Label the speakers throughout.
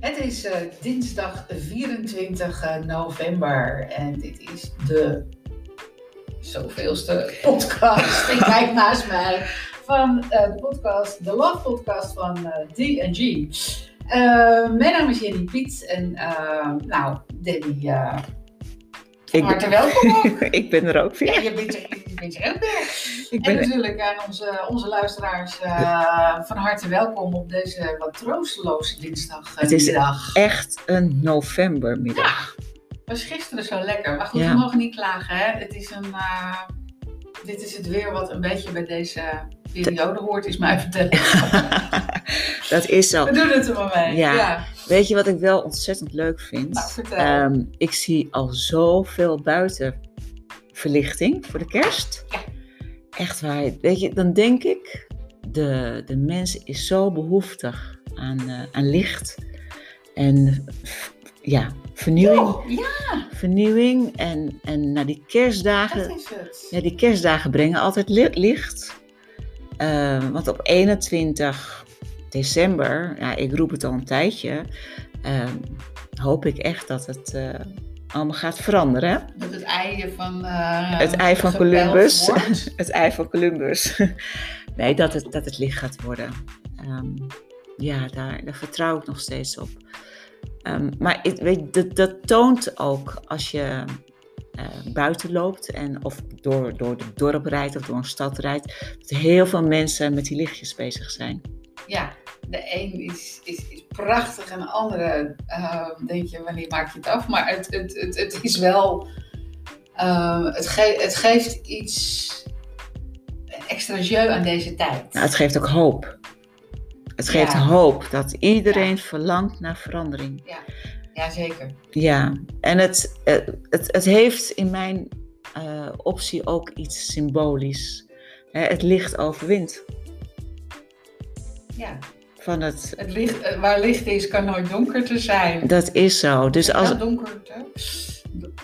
Speaker 1: Het is eh, dinsdag 24 november en dit is de zoveelste podcast. Ik kijk naast mij van eh, de podcast, de Love Podcast van eh, D&G. Eh, mijn naam is Jenny Piet en eh, nou, Debbie, eh
Speaker 2: Ik ben,
Speaker 1: hartelijk welkom ook.
Speaker 2: ik ben er ook
Speaker 1: Ja,
Speaker 2: weer.
Speaker 1: je bent er, je bent er ook weer.
Speaker 2: Ik
Speaker 1: En
Speaker 2: ben,
Speaker 1: natuurlijk aan onze, onze luisteraars eh, van harte welkom op deze wat troosteloze dinsdag. eh,
Speaker 2: Het is-
Speaker 1: middag.
Speaker 2: echt een novembermiddag.
Speaker 1: was gisteren zo lekker. Maar goed,
Speaker 2: Ja.
Speaker 1: we mogen niet klagen. Hè? Het is een, eh, dit is het weer wat een beetje bij deze periode hoort, is mij vertellen.
Speaker 2: Dat is zo.
Speaker 1: We doen het er maar mee.
Speaker 2: Ja. Weet je wat ik wel ontzettend leuk vind?
Speaker 1: Nou, vertel.
Speaker 2: Ehm, ik zie al zoveel buitenverlichting voor de kerst.
Speaker 1: Ja.
Speaker 2: Echt waar. Weet je, dan denk ik, de, de mens is zo behoeftig aan, eh, aan licht en f- ja, vernieuwing.
Speaker 1: Oh, ja,
Speaker 2: Vernieuwing en, en naar die kerstdagen.
Speaker 1: dat is het.
Speaker 2: Ja, die kerstdagen brengen altijd li- licht. Eh, want op 21 december, ja, ik roep het al een tijdje, eh, hoop ik echt dat het eh, allemaal gaat veranderen.
Speaker 1: Dat het ei van... eh,
Speaker 2: Het ei van
Speaker 1: gepeld
Speaker 2: Columbus.
Speaker 1: wordt.
Speaker 2: Het ei van Columbus. nee, dat het, dat het licht gaat worden. Ehm, ja, daar, daar vertrouw ik nog steeds op. Ehm, maar ik, weet, je, dat, dat toont ook als je eh, buiten loopt en of door, door het dorp rijdt of door een stad rijdt, dat heel veel mensen met die lichtjes bezig zijn.
Speaker 1: Ja, de een is, is, is prachtig en de andere eh, denk je, wanneer maak je het af? Maar het, het, het, het is wel, eh, het, ge- het geeft iets een extra jeu aan deze tijd.
Speaker 2: Nou, het geeft ook hoop. Het geeft
Speaker 1: Ja.
Speaker 2: hoop dat iedereen verlangt naar verandering.
Speaker 1: Jazeker.
Speaker 2: Ja, en het, eh, het, het heeft in mijn eh, optie ook iets symbolisch. Hè, het licht overwint.
Speaker 1: Ja.
Speaker 2: Van het,
Speaker 1: Het licht, eh, waar licht is, kan nooit donker te zijn.
Speaker 2: dat is zo. Dus als.
Speaker 1: Kan donker te...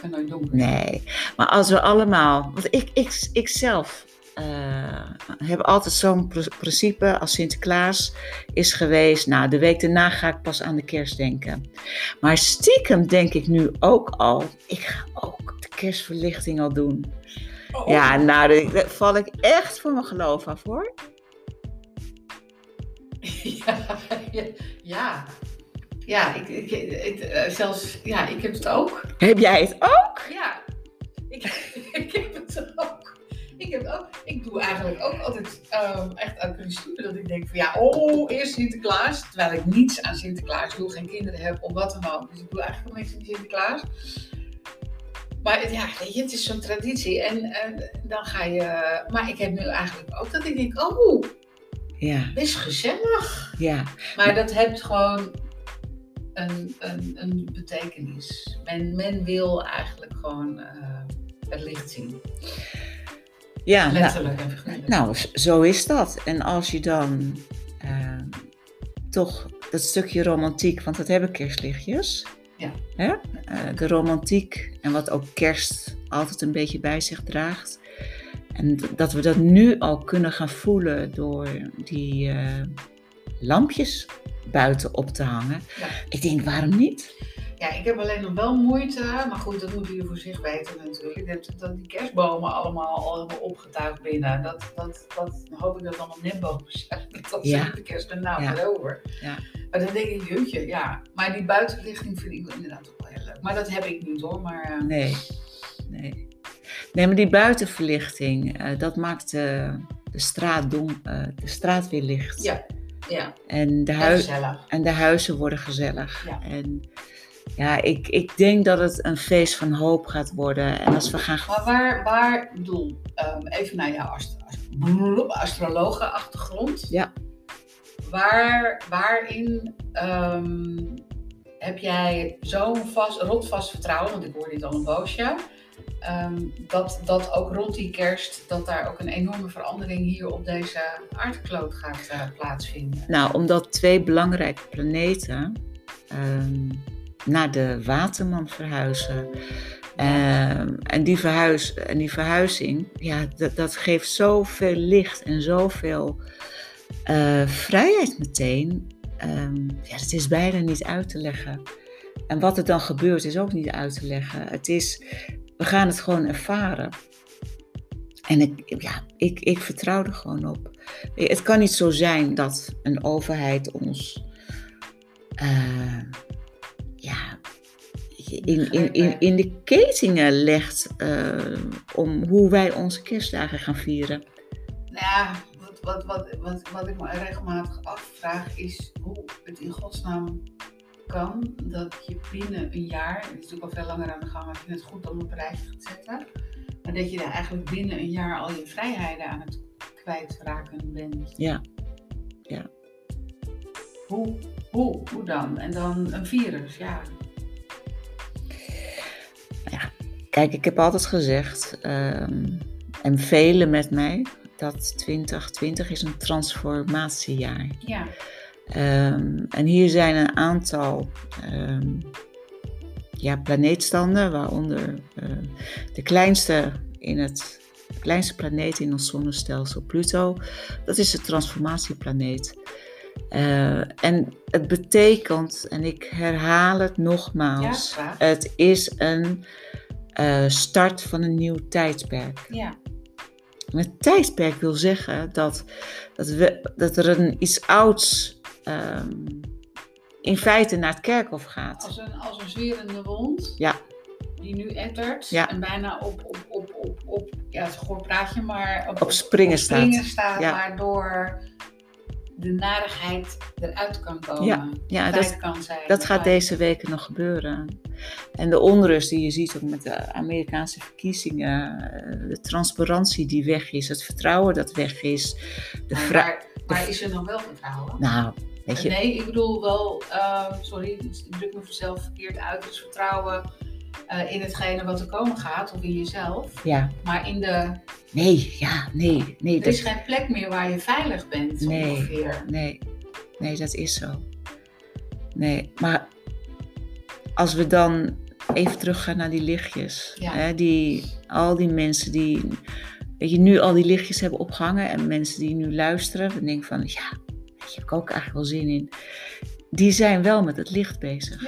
Speaker 1: Kan nooit donker zijn.
Speaker 2: Nee, maar als we allemaal. Want ik, ik, ik zelf eh, heb altijd zo'n pr- principe als Sinterklaas is geweest. Nou, de week daarna ga ik pas aan de kerst denken. Maar stiekem denk ik nu ook al. Ik ga ook de kerstverlichting al doen.
Speaker 1: Oh.
Speaker 2: Ja, nou, daar- daar val ik echt voor mijn geloof af hoor.
Speaker 1: ja, ja. Ja, ik, ik, ik- eh, zelfs, ja, ik heb het ook.
Speaker 2: Heb jij het ook?
Speaker 1: Ja, ik, ik heb het ook. Ik, heb ook, ik doe eigenlijk ook altijd ehm, echt uit principe dat ik denk van ja, oh, eerst Sinterklaas. Terwijl ik niets aan Sinterklaas doe, geen kinderen heb of wat dan ook. Dus ik doe eigenlijk ook niks aan Sinterklaas. Maar het- ja, weet je, het is zo'n traditie. En, en dan ga je... Maar ik heb nu eigenlijk ook dat ik denk, oh,
Speaker 2: Ja,
Speaker 1: best gezellig.
Speaker 2: ja.
Speaker 1: Maar dat heeft gewoon een, een, een betekenis. Men, men wil eigenlijk gewoon eh, het licht zien.
Speaker 2: Ja, nou,
Speaker 1: Letterlijk en figuurlijk.
Speaker 2: nou, z- zo is dat. En als je dan eh, toch dat stukje romantiek, want dat hebben kerstlichtjes.
Speaker 1: Ja.
Speaker 2: Hè? Eh, de romantiek en wat ook kerst altijd een beetje bij zich draagt. En d- dat we dat nu al kunnen gaan voelen door die eh, lampjes buiten op te hangen.
Speaker 1: Ja.
Speaker 2: Ik denk, waarom niet?
Speaker 1: Ja, ik heb alleen nog wel moeite. Maar goed, dat moeten jullie voor zich weten natuurlijk. Dat, dat die kerstbomen allemaal al helemaal opgetuigd binnen. Dat, dat, dat dan hoop ik dat het allemaal netbomen zijn. Dat
Speaker 2: Ja.
Speaker 1: zijn de kerstbomen
Speaker 2: Ja.
Speaker 1: erover.
Speaker 2: Ja.
Speaker 1: Maar dan denk ik, jeetje, ja. Maar die buitenlichting vind ik wel inderdaad ook wel heel leuk. Maar dat heb ik niet hoor. Maar eh,
Speaker 2: Nee, nee. Nee, maar die buitenverlichting, eh, dat maakt eh, de, straat dom, eh, de straat weer licht.
Speaker 1: Ja, ja,
Speaker 2: En de,
Speaker 1: ja,
Speaker 2: hui-
Speaker 1: gezellig.
Speaker 2: en de huizen worden gezellig.
Speaker 1: Ja.
Speaker 2: En ja, ik, ik denk dat het een feest van hoop gaat worden. En als we gaan...
Speaker 1: Maar waar, waar doel, ehm, even naar jouw ast- ast- bloep, astrologenachtergrond.
Speaker 2: Ja.
Speaker 1: Waar, waarin ehm, heb jij zo'n vast, rotvast vertrouwen, want ik hoor dit al een boosje, ehm, dat, dat ook rond die kerst, dat daar ook een enorme verandering hier op deze aardkloot gaat eh, plaatsvinden.
Speaker 2: Nou, omdat twee belangrijke planeten ehm, naar de Waterman verhuizen. Ehm, en, die verhuis, en die verhuizing, ja, dat, dat geeft zoveel licht en zoveel eh, vrijheid meteen. ehm, ja, dat is bijna niet uit te leggen. En wat er dan gebeurt is ook niet uit te leggen. Het is, we gaan het gewoon ervaren. En ik, ja, ik, ik vertrouw er gewoon op. Het kan niet zo zijn dat een overheid ons eh, ja, in, in, in, in de ketingen legt eh, om hoe wij onze kerstdagen gaan vieren.
Speaker 1: Nou ja, wat, wat, wat, wat, wat ik me regelmatig afvraag is hoe het in godsnaam kan dat je binnen een jaar, het is natuurlijk al veel langer aan de gang, maar ik vind het goed om op een rijtje te zetten, maar dat je daar eigenlijk binnen een jaar al je vrijheden aan het kwijtraken bent.
Speaker 2: Ja. Ja.
Speaker 1: Hoe, hoe, hoe dan? En dan een virus, ja.
Speaker 2: Kijk, ik heb altijd gezegd, ehm, en velen met mij, dat 2020 is een transformatiejaar.
Speaker 1: Ja,
Speaker 2: Ehm, en hier zijn een aantal ehm, ja, planeetstanden, waaronder eh, de kleinste in het de kleinste planeet in ons zonnestelsel, Pluto. Dat is de transformatieplaneet. Eh, en het betekent, en ik herhaal het
Speaker 1: ja,
Speaker 2: nogmaals,
Speaker 1: graag.
Speaker 2: het is een eh, start van een nieuw tijdperk.
Speaker 1: Ja,
Speaker 2: En het tijdperk wil zeggen dat, dat, we, dat er een iets ouds ehm, in feite naar het kerkhof gaat.
Speaker 1: als een, als een zwerende wond.
Speaker 2: Ja.
Speaker 1: Die nu ettert
Speaker 2: Ja.
Speaker 1: en bijna op, op, op, op, op, ja, het is een goor praatje, maar
Speaker 2: Op springen staat.
Speaker 1: springen staat,
Speaker 2: Ja.
Speaker 1: waardoor de narigheid eruit kan komen.
Speaker 2: Ja, Ja,
Speaker 1: Feit
Speaker 2: dat,
Speaker 1: kan zijn.
Speaker 2: dat gaat
Speaker 1: Ja.
Speaker 2: deze weken nog gebeuren. En de onrust die je ziet ook met de Amerikaanse verkiezingen, eh, de transparantie die weg is, het vertrouwen dat weg is, de
Speaker 1: Maar-
Speaker 2: vraag.
Speaker 1: maar, maar is er nog wel vertrouwen?
Speaker 2: Nou, weet je,
Speaker 1: Nee, ik bedoel wel, ehm, sorry, ik druk me zelf verkeerd uit. Dus vertrouwen eh, in hetgene wat er komen gaat, of in jezelf.
Speaker 2: ja,
Speaker 1: Maar in de,
Speaker 2: nee, ja, nee, nee.
Speaker 1: er is geen plek meer waar je veilig bent,
Speaker 2: Nee.
Speaker 1: ongeveer.
Speaker 2: Nee, nee, dat is zo. Nee, maar als we dan even teruggaan naar die lichtjes.
Speaker 1: Ja.
Speaker 2: Hè, die, al die mensen die weet je, nu al die lichtjes hebben opgehangen en mensen die nu luisteren en denken van ja, daar heb ik ook eigenlijk wel zin in. Die zijn wel met het licht bezig.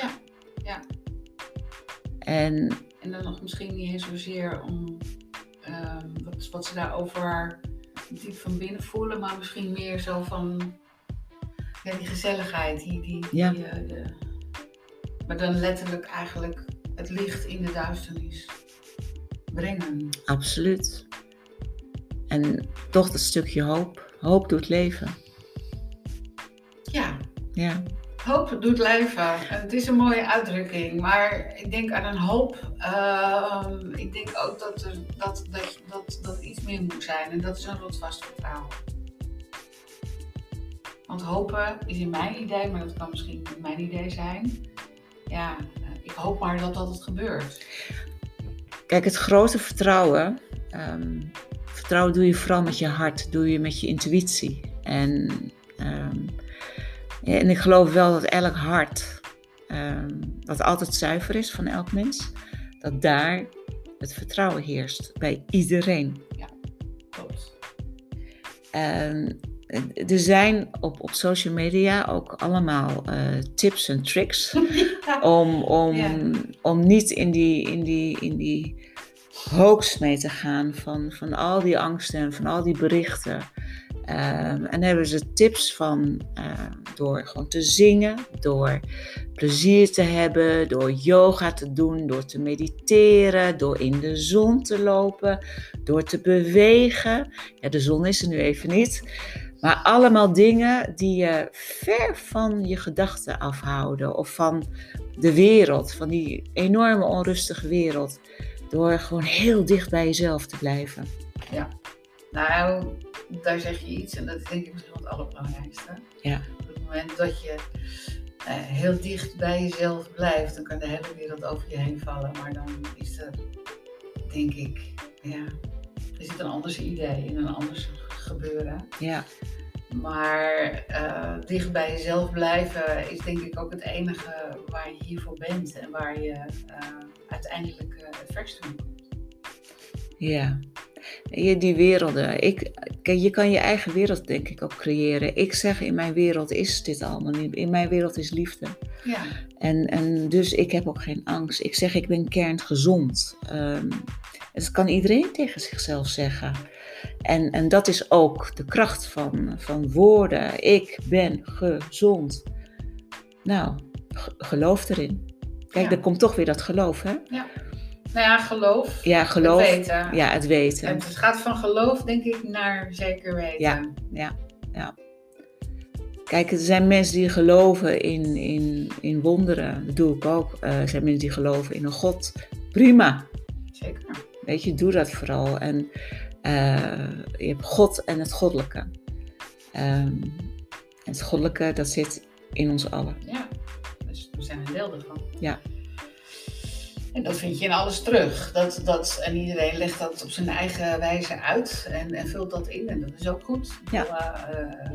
Speaker 1: Ja.
Speaker 2: En
Speaker 1: En dan nog misschien niet eens zozeer om ehm, wat, wat ze daarover diep van binnen voelen, maar misschien meer zo van ja, die gezelligheid. Die, die, die,
Speaker 2: Ja.
Speaker 1: eh, de- maar dan letterlijk eigenlijk het licht in de duisternis brengen.
Speaker 2: absoluut. En toch dat stukje hoop. Hoop doet leven.
Speaker 1: Ja,
Speaker 2: Ja,
Speaker 1: hoop doet leven. Het is een mooie uitdrukking, maar ik denk aan een hoop. ehm, ik denk ook dat er dat, dat, dat, dat iets meer moet zijn en dat is een rotvast vertrouwen. Want hopen is in mijn idee, maar dat kan misschien niet mijn idee zijn. Ja, eh, ik hoop maar dat dat het gebeurt.
Speaker 2: Kijk, het grote vertrouwen. ehm, vertrouwen doe je vooral met je hart, doe je met je intuïtie. En, ehm, ja, en ik geloof wel dat elk hart, ehm dat altijd zuiver is van elk mens, dat daar het vertrouwen heerst bij iedereen.
Speaker 1: Klopt.
Speaker 2: En Ehm, er zijn op, op social media ook allemaal eh, tips en tricks om, om,
Speaker 1: Ja.
Speaker 2: om niet in die, in die, in die hoax mee te gaan van, van al die angsten en van al die berichten. Ehm, en daar hebben ze tips van eh, door gewoon te zingen, door plezier te hebben, door yoga te doen, door te mediteren, door in de zon te lopen, door te bewegen. Ja, de zon is er nu even niet. Maar allemaal dingen die je ver van je gedachten afhouden of van de wereld, van die enorme onrustige wereld, door gewoon heel dicht bij jezelf te blijven.
Speaker 1: Nou, daar zeg je iets en dat is denk ik misschien wel het allerbelangrijkste.
Speaker 2: Ja.
Speaker 1: Op het moment dat je eh, heel dicht bij jezelf blijft, dan kan de hele wereld over je heen vallen. Maar dan is er, denk ik, ja, er zit een anders idee in, een anders gebeuren.
Speaker 2: Ja,
Speaker 1: Maar eh, dicht bij jezelf blijven is denk ik ook het enige waar je hiervoor bent en waar je eh, uiteindelijk eh, het verste mee komt.
Speaker 2: ja. Je, die werelden. Ik, kijk, je kan je eigen wereld, denk ik, ook creëren. Ik zeg, in mijn wereld is dit allemaal niet. In mijn wereld is liefde.
Speaker 1: Ja.
Speaker 2: En, en dus ik heb ook geen angst. Ik zeg, ik ben kerngezond. Ehm dat kan iedereen tegen zichzelf zeggen. En, en dat is ook de kracht van, van woorden. Ik ben gezond. Nou, ge- geloof erin. Kijk,
Speaker 1: Ja.
Speaker 2: er komt toch weer dat geloof, hè?
Speaker 1: Nou ja, geloof.
Speaker 2: Ja, geloof.
Speaker 1: Het weten.
Speaker 2: Ja, het weten.
Speaker 1: Het gaat van geloof, denk ik, naar zeker weten.
Speaker 2: Ja. Kijk, er zijn mensen die geloven in, in, in wonderen. Dat doe ik ook. Eh, er zijn mensen die geloven in een God. Prima.
Speaker 1: Zeker.
Speaker 2: Weet je, doe dat vooral. En eh, je hebt God en het goddelijke. Ehm, en het goddelijke, dat zit in ons allen.
Speaker 1: Ja. Dus we zijn een deel ervan.
Speaker 2: Ja.
Speaker 1: En dat vind je in alles terug. Dat, dat, en iedereen legt dat op zijn eigen wijze uit en, en vult dat in. En dat is ook goed. Ik
Speaker 2: Ja.
Speaker 1: bedoel, eh, eh,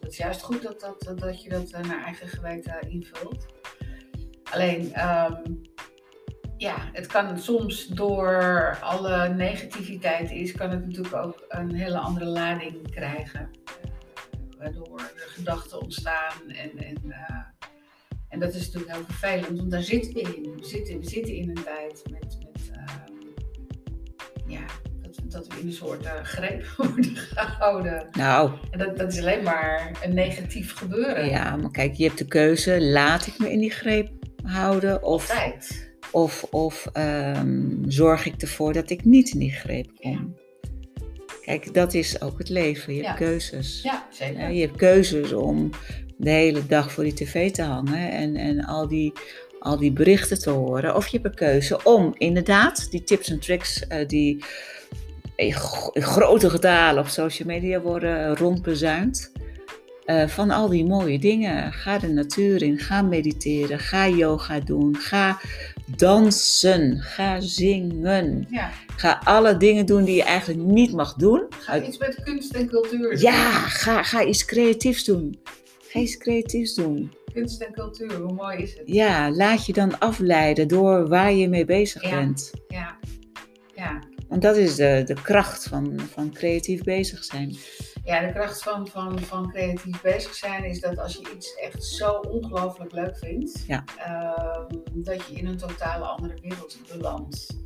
Speaker 1: het is juist goed dat, dat, dat je dat eh, naar eigen geweten invult. Alleen, ehm, ja, het kan soms door alle negativiteit is, kan het natuurlijk ook een hele andere lading krijgen. Eh, Waardoor er gedachten ontstaan en, en eh, en dat is natuurlijk heel vervelend, want daar zitten we in. We zitten, we zitten in een tijd met, met ehm, ja, dat, dat we in een soort eh, greep worden gehouden.
Speaker 2: Nou,
Speaker 1: En dat, dat is alleen maar een negatief gebeuren.
Speaker 2: ja, maar kijk, je hebt de keuze. Laat ik me in die greep houden? Of,
Speaker 1: Tijd.
Speaker 2: of, of ehm, zorg ik ervoor dat ik niet in die greep kom? Kijk, dat is ook het leven. Je hebt
Speaker 1: Ja.
Speaker 2: keuzes.
Speaker 1: Ja,
Speaker 2: Ja,
Speaker 1: zeker.
Speaker 2: Je hebt keuzes om de hele dag voor die tv te hangen en, en al, die, al die berichten te horen. Of je hebt een keuze om inderdaad die tips en tricks eh, die in gro- in grote getalen op social media worden rondbezuind. eh, van al die mooie dingen. Ga de natuur in, ga mediteren, ga yoga doen, ga dansen, ga zingen.
Speaker 1: Ja,
Speaker 2: Ga alle dingen doen die je eigenlijk niet mag doen.
Speaker 1: ga iets met kunst en cultuur. doen.
Speaker 2: Ja, ga, ga iets creatiefs doen. Ga iets creatiefs doen.
Speaker 1: Kunst en cultuur, hoe mooi is het?
Speaker 2: Ja, laat je dan afleiden door waar je mee bezig
Speaker 1: Ja.
Speaker 2: bent.
Speaker 1: Ja. Ja,
Speaker 2: Want dat is de, de kracht van, van creatief bezig zijn.
Speaker 1: ja de kracht van, van, van creatief bezig zijn is dat als je iets echt zo ongelooflijk leuk vindt,
Speaker 2: Ja.
Speaker 1: ehm, dat je in een totaal andere wereld belandt.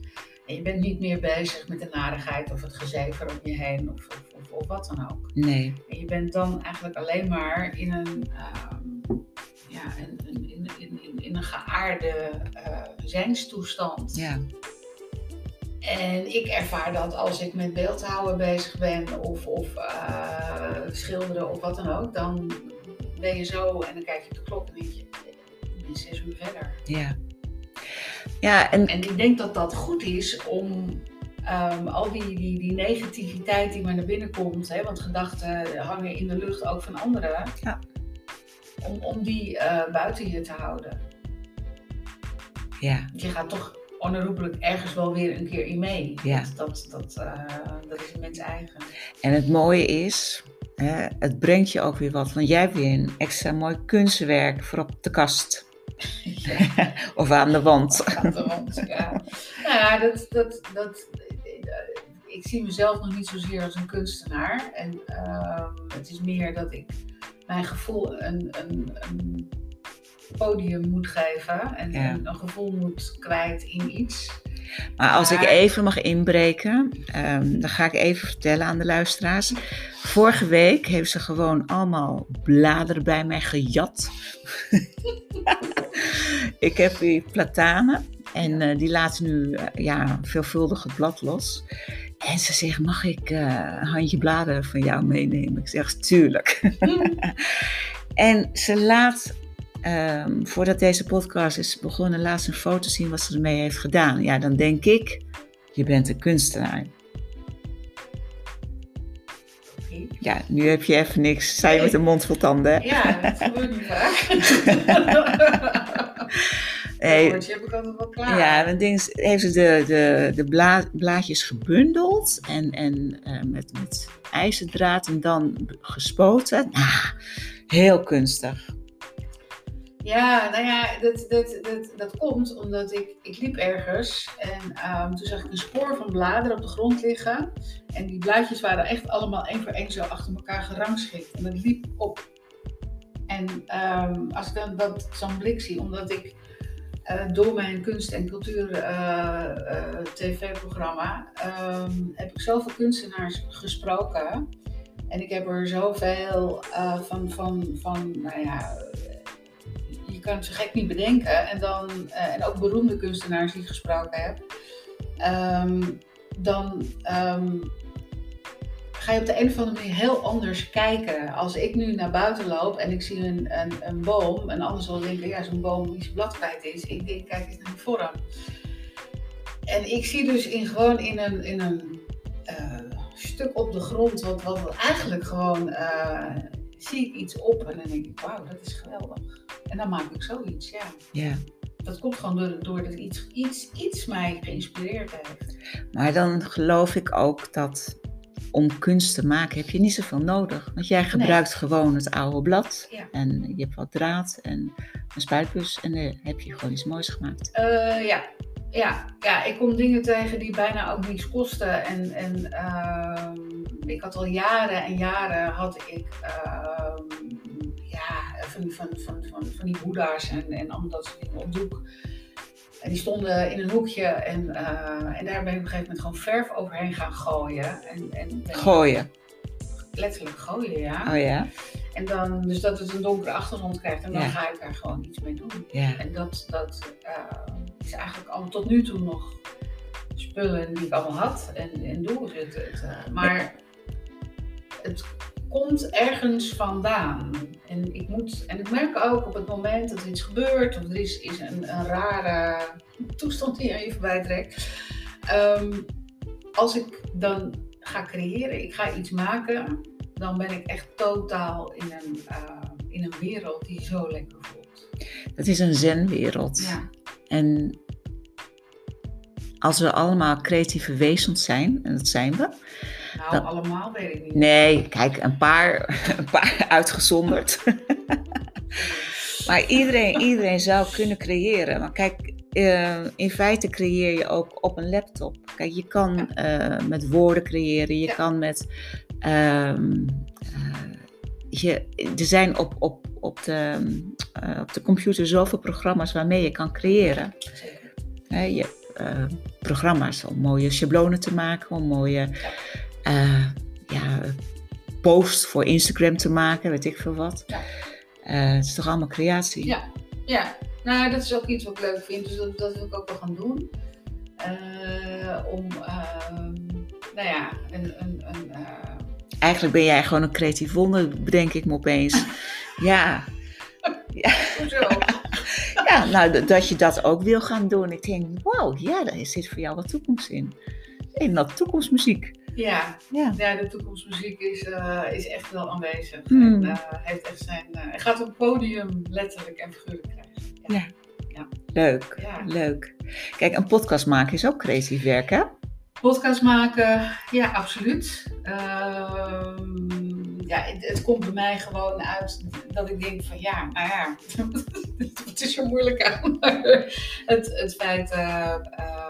Speaker 1: En je bent niet meer bezig met de narigheid of het gezever om je heen of, of, of, of wat dan ook.
Speaker 2: Nee,
Speaker 1: En je bent dan eigenlijk alleen maar in een, ehm, ja, in, in, in, in, in- in een geaarde eh zijnstoestand.
Speaker 2: ja,
Speaker 1: En ik ervaar dat als ik met beeldhouden bezig ben of, of eh, schilderen of wat dan ook, dan ben je zo en dan kijk je op de klok en denk je, eh, ik ben zes uur verder.
Speaker 2: ja. Ja, en
Speaker 1: En ik denk dat dat goed is om ehm, al die, die, die negativiteit die maar naar binnen komt, hè, want gedachten hangen in de lucht ook van anderen,
Speaker 2: Ja.
Speaker 1: om, om die eh, buiten je te houden.
Speaker 2: ja,
Speaker 1: Want Je gaat toch onherroepelijk ergens wel weer een keer in mee.
Speaker 2: Ja.
Speaker 1: Dat, dat, dat, eh, dat is een mens eigen.
Speaker 2: en het mooie is, hè, het brengt je ook weer wat. Want jij hebt weer een extra mooi kunstwerk voor op de kast. of aan de wand.
Speaker 1: Gaat er rond, ja. Nou ja, dat, dat, dat, eh, ik zie mezelf nog niet zozeer als een kunstenaar. En ehm, het is meer dat ik mijn gevoel een, een, een podium moet geven en
Speaker 2: Ja.
Speaker 1: een, een gevoel moet kwijt in iets.
Speaker 2: Maar als ik
Speaker 1: Maar-
Speaker 2: even mag inbreken, ehm, dan ga ik even vertellen aan de luisteraars. Vorige week heeft ze gewoon allemaal bladeren bij mij gejat. ik heb die platanen en eh, die laten nu eh, ja, veelvuldig het blad los. En ze zegt, mag ik eh, een handje bladeren van jou meenemen? Ik zeg, tuurlijk. en ze laat Ehm, voordat deze podcast is begonnen, laatst een foto zien wat ze ermee heeft gedaan. Ja, dan denk ik, je bent een kunstenaar.
Speaker 1: Oké.
Speaker 2: Ja, nu heb je even niks. Zij met een mond vol tanden. hè?
Speaker 1: Ja, dat gebeurt niet vaak.
Speaker 2: Nee,
Speaker 1: Dat heb ik altijd wel klaar.
Speaker 2: ja, dat ding is, heeft ze de, de, de bla- blaadjes gebundeld en, en eh, met, met Ah, ijzerdraad en dan b- gespoten. Nou, heel kunstig.
Speaker 1: Ja, nou ja, dat, dat, dat, dat komt omdat ik, ik liep ergens en ehm, toen zag ik een spoor van bladeren op de grond liggen. En die blaadjes waren echt allemaal één voor één zo achter elkaar gerangschikt. En dat liep op. En ehm, als ik dan dat zo'n blik zie, omdat ik eh, door mijn kunst- en eh, cultuur-tv-programma ehm, heb ik zoveel kunstenaars gesproken. En ik heb er zoveel eh, van, van, van, nou ja, je kan het zo gek niet bedenken. En, dan, eh, en ook beroemde kunstenaars die ik gesproken heb. Ehm, dan ehm, ga je op de een of andere manier heel anders kijken. Als ik nu naar buiten loop en ik zie een, een, een boom. En anders zal denken, ja, zo'n boom die zijn blad kwijt is. Ik denk, kijk eens naar die vorm. En ik zie dus in, gewoon in een, in een eh, stuk op de grond, wat, wat eigenlijk gewoon, eh, zie ik iets op en dan denk ik, wauw, dat is geweldig. En dan maak ik zoiets, ja.
Speaker 2: Ja.
Speaker 1: Dat komt gewoon door- doordat iets, iets, iets mij geïnspireerd heeft.
Speaker 2: Maar dan geloof ik ook dat om kunst te maken heb je niet zoveel nodig. Want jij gebruikt gewoon het oude blad.
Speaker 1: Ja.
Speaker 2: En je hebt wat draad en een spuitbus. En dan heb je gewoon iets moois gemaakt.
Speaker 1: Eh, ja. Ja, ja, ik kom dingen tegen die bijna ook niets kosten. En, en ehm, ik had al jaren en jaren had ik ehm, ja, van, die- van, van, van, van die boeddha's en, en allemaal dat soort dingen op doek. En die stonden in een hoekje en, eh, en daar ben ik op een gegeven moment gewoon verf overheen gaan gooien. En, en ben ik
Speaker 2: Gooien.
Speaker 1: letterlijk gooien, ja.
Speaker 2: Oh ja?
Speaker 1: En dan, dus dat het een donkere achtergrond krijgt en dan
Speaker 2: Ja.
Speaker 1: ga ik daar gewoon iets mee doen.
Speaker 2: Ja.
Speaker 1: En dat, dat eh, is eigenlijk al tot nu toe nog spullen die ik allemaal had en, en doe. ik Het, het, eh, maar het komt ergens vandaan. En ik, moet, en ik merk ook op het moment dat er iets gebeurt of er is, is een, een rare toestand die aan je voorbij trekt. Ehm, als ik dan ga creëren, ik ga iets maken, dan ben ik echt totaal in een, eh, in een wereld die zo lekker voelt.
Speaker 2: Dat is een zenwereld. En als we allemaal creatieve wezens zijn, en dat zijn we.
Speaker 1: Nou,
Speaker 2: Dat-
Speaker 1: allemaal weet ik niet.
Speaker 2: Nee, kijk, een paar, een paar uitgezonderd. Maar iedereen, iedereen zou kunnen creëren. Maar kijk, eh, in feite creëer je ook op een laptop. Kijk, je kan eh, met woorden creëren, je
Speaker 1: Ja.
Speaker 2: kan met. ehm, eh, je, er zijn op, op, op, de, eh, op de computer zoveel programma's waarmee je kan creëren.
Speaker 1: Zeker.
Speaker 2: Hè, je hebt eh, programma's om mooie sjablonen te maken, om mooie eh, ja, posts voor Instagram te maken, weet ik veel wat.
Speaker 1: Ja.
Speaker 2: Eh, het is toch allemaal creatie?
Speaker 1: Ja. Ja, nou dat is ook iets wat ik leuk vind, dus dat, dat wil ik ook wel gaan doen. Eh, om, ehm, nou ja, een, een, een eh,
Speaker 2: Eigenlijk ben jij gewoon een creatief wonder, bedenk ik me opeens. ja.
Speaker 1: hoezo?
Speaker 2: ja, nou d- dat je dat ook wil gaan doen. Ik denk, wauw, ja, daar zit voor jou wat toekomst in. En dat toekomstmuziek.
Speaker 1: ja,
Speaker 2: Ja.
Speaker 1: ja, de toekomstmuziek is, eh, is echt wel aanwezig.
Speaker 2: Hmm.
Speaker 1: En, eh, heeft echt zijn, eh, hij gaat op het podium letterlijk en figuurlijk krijgen.
Speaker 2: Leuk,
Speaker 1: Ja.
Speaker 2: leuk. Kijk, een podcast maken is ook creatief werk, hè?
Speaker 1: Podcast maken, ja, absoluut. Ehm, ja, het, het komt bij mij gewoon uit dat ik denk van ja, maar ja, het is zo moeilijk aan. het, het feit, eh, eh,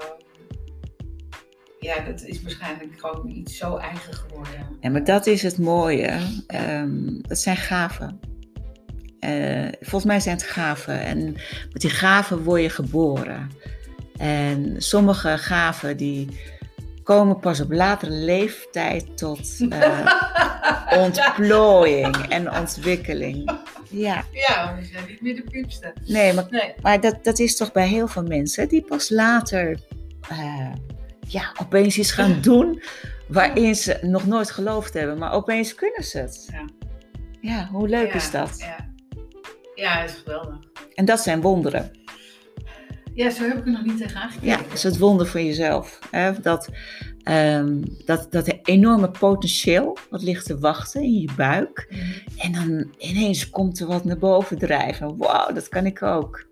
Speaker 1: ja, dat is waarschijnlijk gewoon iets zo eigen geworden.
Speaker 2: Ja, maar dat is het mooie. Ehm, dat zijn gaven. Eh, volgens mij zijn het gaven. En met die gaven word je geboren. En sommige gaven die komen pas op latere leeftijd tot eh, ontplooiing en ontwikkeling. Ja,
Speaker 1: ja, we zijn niet meer de piepste.
Speaker 2: nee, maar,
Speaker 1: Nee.
Speaker 2: maar dat, dat is toch bij heel veel mensen die pas later eh, ja, opeens iets gaan doen waarin ze nog nooit geloofd hebben, maar opeens kunnen ze het.
Speaker 1: Ja.
Speaker 2: Ja, hoe leuk
Speaker 1: Ja,
Speaker 2: is dat?
Speaker 1: Ja, ja het is geweldig.
Speaker 2: En dat zijn wonderen.
Speaker 1: Ja, zo heb ik er nog niet tegen aangekeken.
Speaker 2: Ja, dat is het wonder van jezelf. Hè? Dat, ehm, dat, dat enorme potentieel wat ligt te wachten in je buik. En dan ineens komt er wat naar boven drijven. Wauw, dat kan ik ook.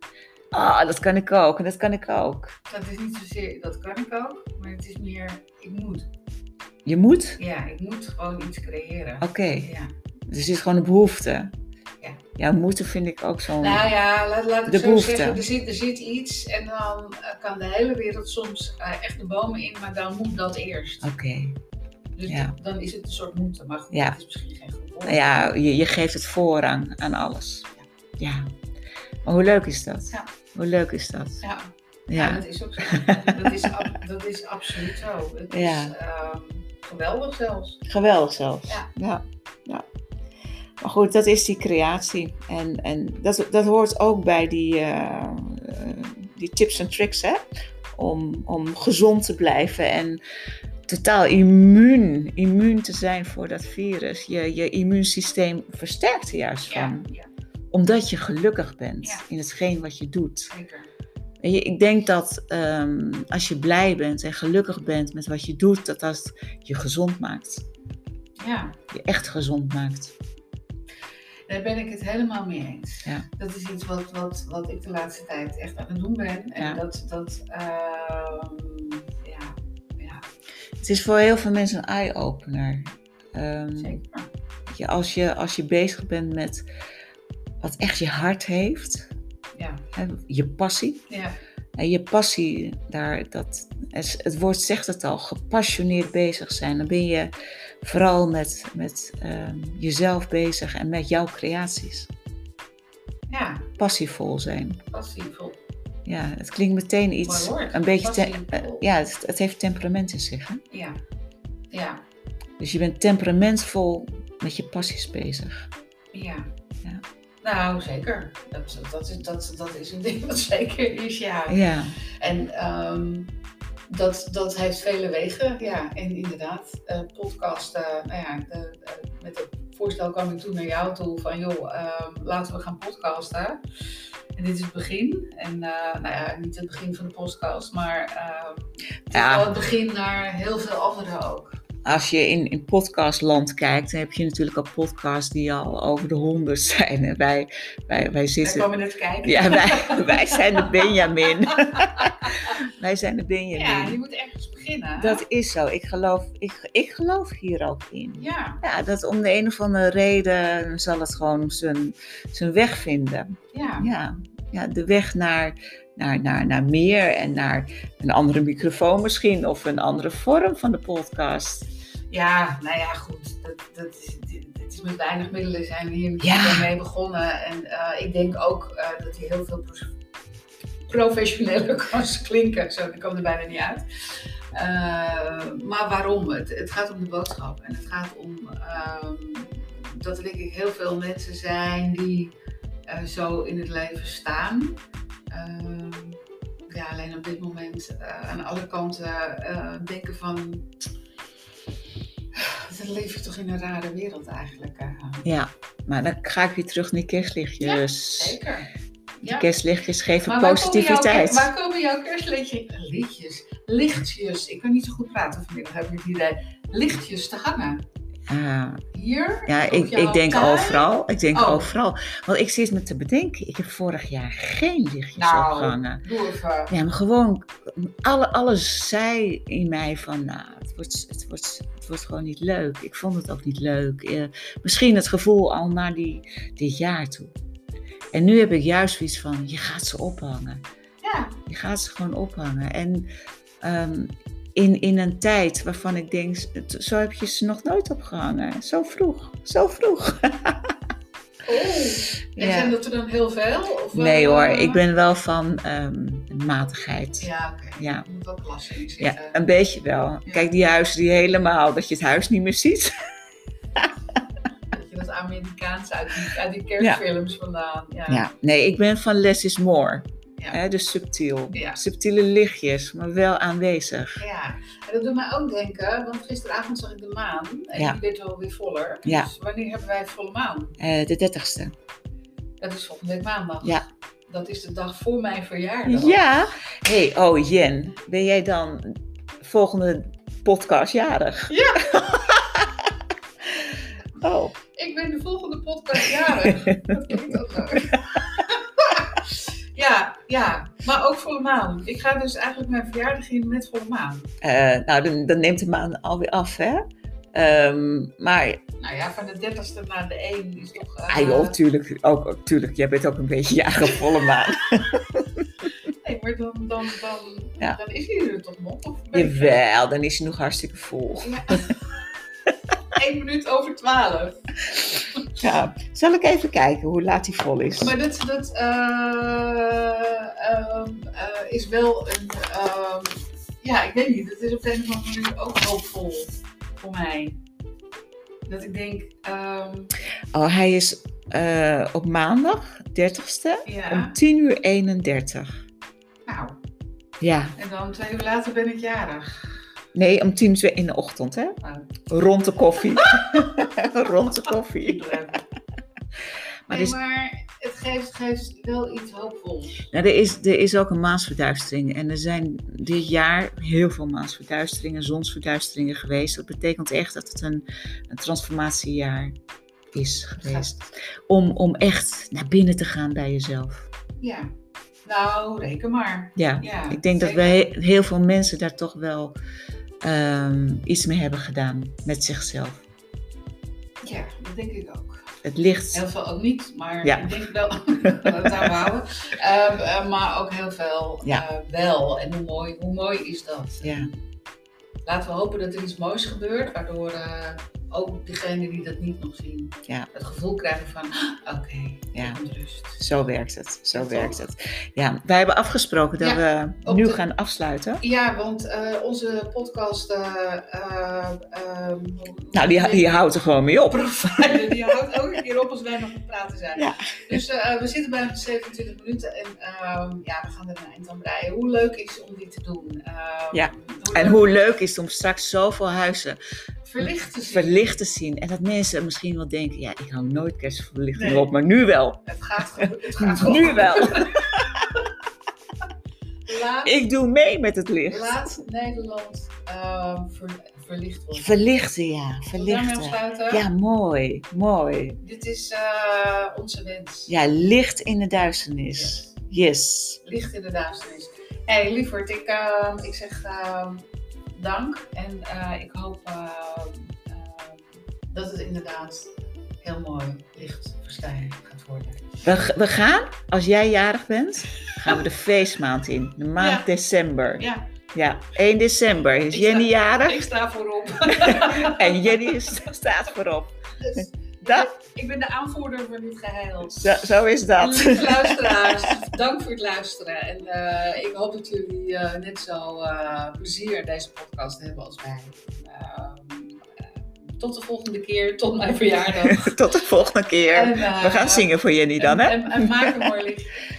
Speaker 2: Ah, dat kan ik ook. En dat kan ik ook.
Speaker 1: Dat is niet zozeer, dat kan ik ook, maar het is meer, ik moet.
Speaker 2: Je moet?
Speaker 1: Ja, ik moet gewoon iets creëren.
Speaker 2: Oké,
Speaker 1: Ja,
Speaker 2: er zit gewoon een behoefte.
Speaker 1: Ja.
Speaker 2: Ja, moeten vind ik ook zo'n...
Speaker 1: Nou ja, laat, laat ik
Speaker 2: Oh. De
Speaker 1: zo
Speaker 2: behoefte.
Speaker 1: zeggen, er zit, er zit iets en dan eh, kan de hele wereld soms eh, echt de bomen in, maar dan moet dat eerst.
Speaker 2: Oké.
Speaker 1: Dus
Speaker 2: Ah, ja.
Speaker 1: dan is het een soort moeten, maar goed,
Speaker 2: Ja.
Speaker 1: dat is misschien geen goed woord.
Speaker 2: Nou ja, je, je geeft het voorrang aan alles. Ja. Maar hoe leuk is dat?
Speaker 1: Ja.
Speaker 2: Hoe leuk is dat?
Speaker 1: Ja. Ja,
Speaker 2: Ja.
Speaker 1: dat is ook zo. Dat is, ab- dat is absoluut zo. Het
Speaker 2: Ja.
Speaker 1: is ehm, geweldig zelfs.
Speaker 2: Geweldig zelfs.
Speaker 1: Ja.
Speaker 2: ja. ja. Maar goed, dat is die creatie. En, en dat, dat hoort ook bij die, eh, eh, die tips en tricks, hè? Om, om gezond te blijven en totaal immuun, immuun te zijn voor dat virus. Je, je immuunsysteem versterkt er juist
Speaker 1: Ja,
Speaker 2: van.
Speaker 1: ja
Speaker 2: Omdat je gelukkig bent
Speaker 1: Ja.
Speaker 2: in hetgeen wat je doet.
Speaker 1: zeker.
Speaker 2: Weet je, ik denk dat ehm, als je blij bent en gelukkig bent met wat je doet, dat dat je gezond maakt.
Speaker 1: Ja,
Speaker 2: Je echt gezond maakt.
Speaker 1: daar ben ik het helemaal mee eens.
Speaker 2: Ja.
Speaker 1: Dat is iets wat, wat, wat ik de laatste tijd echt aan het doen ben. En
Speaker 2: Ja.
Speaker 1: dat, dat ehm, ja,
Speaker 2: Het is voor heel veel mensen een eye-opener. Ehm,
Speaker 1: zeker.
Speaker 2: weet je, als, je, als je bezig bent met wat echt je hart heeft,
Speaker 1: Ja,
Speaker 2: hè, je passie.
Speaker 1: ja,
Speaker 2: En je passie, daar, dat, het het woord zegt het al, gepassioneerd bezig zijn. Dan ben je vooral met, met ehm, jezelf bezig en met jouw creaties.
Speaker 1: ja,
Speaker 2: Passievol zijn.
Speaker 1: passievol.
Speaker 2: Ja, het klinkt meteen iets.
Speaker 1: Mooi woord,
Speaker 2: een beetje. te-
Speaker 1: passievol.
Speaker 2: eh, ja, het, het heeft temperament in zich. Hè?
Speaker 1: Ja, ja,
Speaker 2: Dus je bent temperamentvol met je passies bezig.
Speaker 1: ja.
Speaker 2: Ja.
Speaker 1: Nou, zeker. Dat, dat, is, dat, dat is een ding wat zeker is, ja.
Speaker 2: Ja,
Speaker 1: En ehm, dat, dat heeft vele wegen, ja. En inderdaad, eh, podcast, eh, nou ja, de- eh, met het voorstel kwam ik toen naar jou toe van, joh, ehm, laten we gaan podcasten. En dit is het begin. En eh, nou ja, niet het begin van de podcast, maar ehm, wel
Speaker 2: ja
Speaker 1: het begin naar heel veel anderen ook.
Speaker 2: als je in, in podcastland kijkt, dan heb je natuurlijk al podcasts die al over de honderd zijn. En wij, wij, wij
Speaker 1: Daar
Speaker 2: zitten.
Speaker 1: kwamen we net kijken.
Speaker 2: Ja, wij, wij zijn de Benjamin. wij zijn de
Speaker 1: Ja, je
Speaker 2: Benjamin.
Speaker 1: moet ergens beginnen.
Speaker 2: Dat is zo. Ik geloof, ik, ik geloof hier ook in.
Speaker 1: Ja,
Speaker 2: Ja, dat om de een of andere reden zal het gewoon zijn, zijn weg vinden.
Speaker 1: ja,
Speaker 2: ja, ja de weg naar, naar, naar, naar meer en naar een andere microfoon misschien of een andere vorm van de podcast.
Speaker 1: ja, nou ja, goed. Dat, dat is, dit, dit is met weinig middelen zijn we hier
Speaker 2: Ja.
Speaker 1: mee begonnen. En eh, ik denk ook eh, dat hij heel veel pro- professioneler kan klinken. Zo, ik kwam er bijna niet uit. Eh, maar waarom? Het, het gaat om de boodschap. En het gaat om ehm, dat er denk ik heel veel mensen zijn die eh, zo in het leven staan. Ehm, ja, alleen op dit moment eh, aan alle kanten eh, denken van... Dat leef je toch in een rare wereld eigenlijk. eh.
Speaker 2: Ja, maar dan ga ik weer terug naar die kerstlichtjes.
Speaker 1: Zeker.
Speaker 2: Die
Speaker 1: Ja.
Speaker 2: kerstlichtjes geven
Speaker 1: Maar waar komen jouw-
Speaker 2: positiviteit.
Speaker 1: Waar komen jouw kerstlichtjes? Lichtjes. Lichtjes. Ik kan niet zo goed praten vanmiddag, heb ik het idee. Lichtjes te hangen.
Speaker 2: Ah,
Speaker 1: Hier?
Speaker 2: ja,
Speaker 1: op
Speaker 2: ik,
Speaker 1: jouw
Speaker 2: ik denk
Speaker 1: tuin?
Speaker 2: overal. Ik denk
Speaker 1: Oh.
Speaker 2: overal. Want ik zit me te bedenken, ik heb vorig jaar geen lichtjes
Speaker 1: Nou.
Speaker 2: opgehangen.
Speaker 1: Doe even.
Speaker 2: Ja, maar gewoon, alle, alles zei in mij van, nou, het wordt, het, wordt, het wordt gewoon niet leuk. Ik vond het ook niet leuk. Eh, misschien het gevoel al naar die, dit jaar toe. En nu heb ik juist zoiets van, je gaat ze ophangen.
Speaker 1: Ja.
Speaker 2: Je gaat ze gewoon ophangen. En ehm, in, in een tijd waarvan ik denk, "Het- zo heb je ze nog nooit opgehangen. Zo vroeg, zo vroeg.
Speaker 1: Oh. En zijn dat er dan heel veel? Of,
Speaker 2: Nee
Speaker 1: eh,
Speaker 2: hoor, ik ben wel van ehm, matigheid.
Speaker 1: Ja, oké.
Speaker 2: Ja.
Speaker 1: Er moet wel klasse in zitten.
Speaker 2: Ja, een beetje wel. Kijk, die huizen die helemaal, dat je het huis niet meer ziet.
Speaker 1: Dat je dat Amerikaanse uit die, uit die kerstfilms vandaan. Ja.
Speaker 2: Ja, nee, ik ben van less is more.
Speaker 1: Ja.
Speaker 2: Hè, dus subtiel.
Speaker 1: Ja.
Speaker 2: Subtiele lichtjes, maar wel aanwezig.
Speaker 1: Ja, en dat doet mij ook denken, want gisteravond zag ik de maan en
Speaker 2: Ja.
Speaker 1: die werd wel weer voller.
Speaker 2: Ja.
Speaker 1: Dus wanneer hebben wij volle maan?
Speaker 2: Eh, de dertigste.
Speaker 1: Dat is volgende week maandag.
Speaker 2: Ja.
Speaker 1: Dat is de dag voor mijn verjaardag.
Speaker 2: Ja. hey, oh Jen, ben jij dan volgende podcast jarig?
Speaker 1: Ja.
Speaker 2: oh,
Speaker 1: Ik ben de volgende podcast jarig. dat klinkt ook leuk. ja, ja, maar ook volle maan. Ik ga dus eigenlijk mijn verjaardag in met volle maan.
Speaker 2: eh, nou dan, dan neemt de maan alweer af, hè? Ehm, maar
Speaker 1: Nou ja, van de dertigste naar de één is toch... eh,
Speaker 2: ah, joh, tuurlijk, ook, tuurlijk, jij bent ook een beetje jager op volle maan.
Speaker 1: Nee, maar dan, dan, dan,
Speaker 2: Ja.
Speaker 1: dan is hij er toch nog? Of ben ik-
Speaker 2: Jawel, dan is je nog hartstikke vol.
Speaker 1: Ja. Eén minuut over twaalf.
Speaker 2: Ja. Zal ik even kijken hoe laat die vol is?
Speaker 1: Maar dat, dat eh, ehm, eh, is wel een... ehm, ja, ik weet niet. Het is op een of andere manier ook hoopvol voor mij. Dat ik denk... ehm,
Speaker 2: Oh, hij is eh, op maandag, 30ste, om
Speaker 1: ja,
Speaker 2: 10 uur 31.
Speaker 1: nou.
Speaker 2: Ja,
Speaker 1: En dan twee uur later ben ik jarig.
Speaker 2: nee, om 10 uur twee in de ochtend, hè?
Speaker 1: Nou,
Speaker 2: Rond de koffie. Rond de koffie.
Speaker 1: leuk.
Speaker 2: Maar
Speaker 1: Maar,
Speaker 2: er is,
Speaker 1: maar het geeft, geeft wel iets hoopvols.
Speaker 2: nou, er, is, er is ook een maansverduistering. En er zijn dit jaar heel veel maansverduisteringen, zonsverduisteringen geweest. Dat betekent echt dat het een, een transformatiejaar is geweest. Om, om echt naar binnen te gaan bij jezelf.
Speaker 1: Ja. Nou, reken maar.
Speaker 2: Ja.
Speaker 1: Ja,
Speaker 2: Ik denk dat
Speaker 1: zeker.
Speaker 2: wij heel veel mensen daar toch wel ehm, iets mee hebben gedaan met zichzelf.
Speaker 1: Ja, dat denk ik ook.
Speaker 2: Het licht.
Speaker 1: Heel veel ook niet, maar
Speaker 2: Ja.
Speaker 1: ik denk wel dat we het aan houden. Ehm, eh, maar ook heel veel
Speaker 2: Ja.
Speaker 1: eh, wel. En hoe mooi, hoe mooi is dat?
Speaker 2: Ja.
Speaker 1: Laten we hopen dat er iets moois gebeurt, waardoor eh, ook degenen die dat niet nog zien,
Speaker 2: Ja.
Speaker 1: het gevoel krijgen van, "Ah, oké,
Speaker 2: Ja.
Speaker 1: er komt rust.
Speaker 2: Zo werkt het. Zo
Speaker 1: Ja, toch?
Speaker 2: werkt het. Ja, wij hebben afgesproken dat
Speaker 1: Ja,
Speaker 2: we
Speaker 1: op
Speaker 2: nu
Speaker 1: de-
Speaker 2: gaan afsluiten.
Speaker 1: Ja, want eh, onze podcast... eh, eh, ehm, hoe-
Speaker 2: Nou, die, die houdt er gewoon mee op.
Speaker 1: provider die houdt ook een keer op als wij nog aan het praten zijn.
Speaker 2: Ja.
Speaker 1: Dus eh, we zitten bij 27 minuten en ehm, ja, we gaan er een eind aan breien. Hoe leuk is om dit te doen? Ehm,
Speaker 2: Ja.
Speaker 1: hoe
Speaker 2: En
Speaker 1: leuk
Speaker 2: hoe leuk is het om straks zoveel huizen
Speaker 1: verlicht te zien.
Speaker 2: verlicht te zien. En dat mensen misschien wel denken, ja, ik hou nooit kerstverlichting
Speaker 1: Nee.
Speaker 2: op, maar nu wel.
Speaker 1: Het gaat, gebe- het gaat
Speaker 2: Nu
Speaker 1: gewoon.
Speaker 2: wel.
Speaker 1: Laat,
Speaker 2: Ik doe mee met het licht.
Speaker 1: laat Nederland ehm, ver- verlicht worden.
Speaker 2: Verlichten, ja.
Speaker 1: Zullen we daarmee
Speaker 2: Verlichten.
Speaker 1: afsluiten?
Speaker 2: Ja, mooi. Mooi.
Speaker 1: Dit is eh, onze wens.
Speaker 2: Ja, licht in de duisternis. Yes.
Speaker 1: Licht in de duisternis. Hé, hey, lieverd, ik, ehm, ik zeg ehm, dank. En eh, ik hoop ehm, ehm, dat het inderdaad heel mooi licht verstijnd gaat worden.
Speaker 2: We, g- we gaan, als jij jarig bent, gaan we de feestmaand in. De maand
Speaker 1: Ja.
Speaker 2: december. Ja.
Speaker 1: Ja,
Speaker 2: 1 december is
Speaker 1: Ik
Speaker 2: Jenny
Speaker 1: sta-
Speaker 2: jarig.
Speaker 1: ik sta voorop.
Speaker 2: En Jenny is, staat voorop.
Speaker 1: Dus
Speaker 2: Dat,
Speaker 1: ik ben de aanvoerder van dit geheel.
Speaker 2: zo, zo is dat.
Speaker 1: Lieve luisteraars, dank voor het luisteren. En eh, ik hoop dat jullie eh, net zo eh, plezier in deze podcast hebben als wij. Ehm, eh, tot de volgende keer, tot mijn verjaardag.
Speaker 2: Tot de volgende keer.
Speaker 1: En, eh,
Speaker 2: We gaan zingen voor Jenny dan, hè?
Speaker 1: En, en, en maak een mooi licht.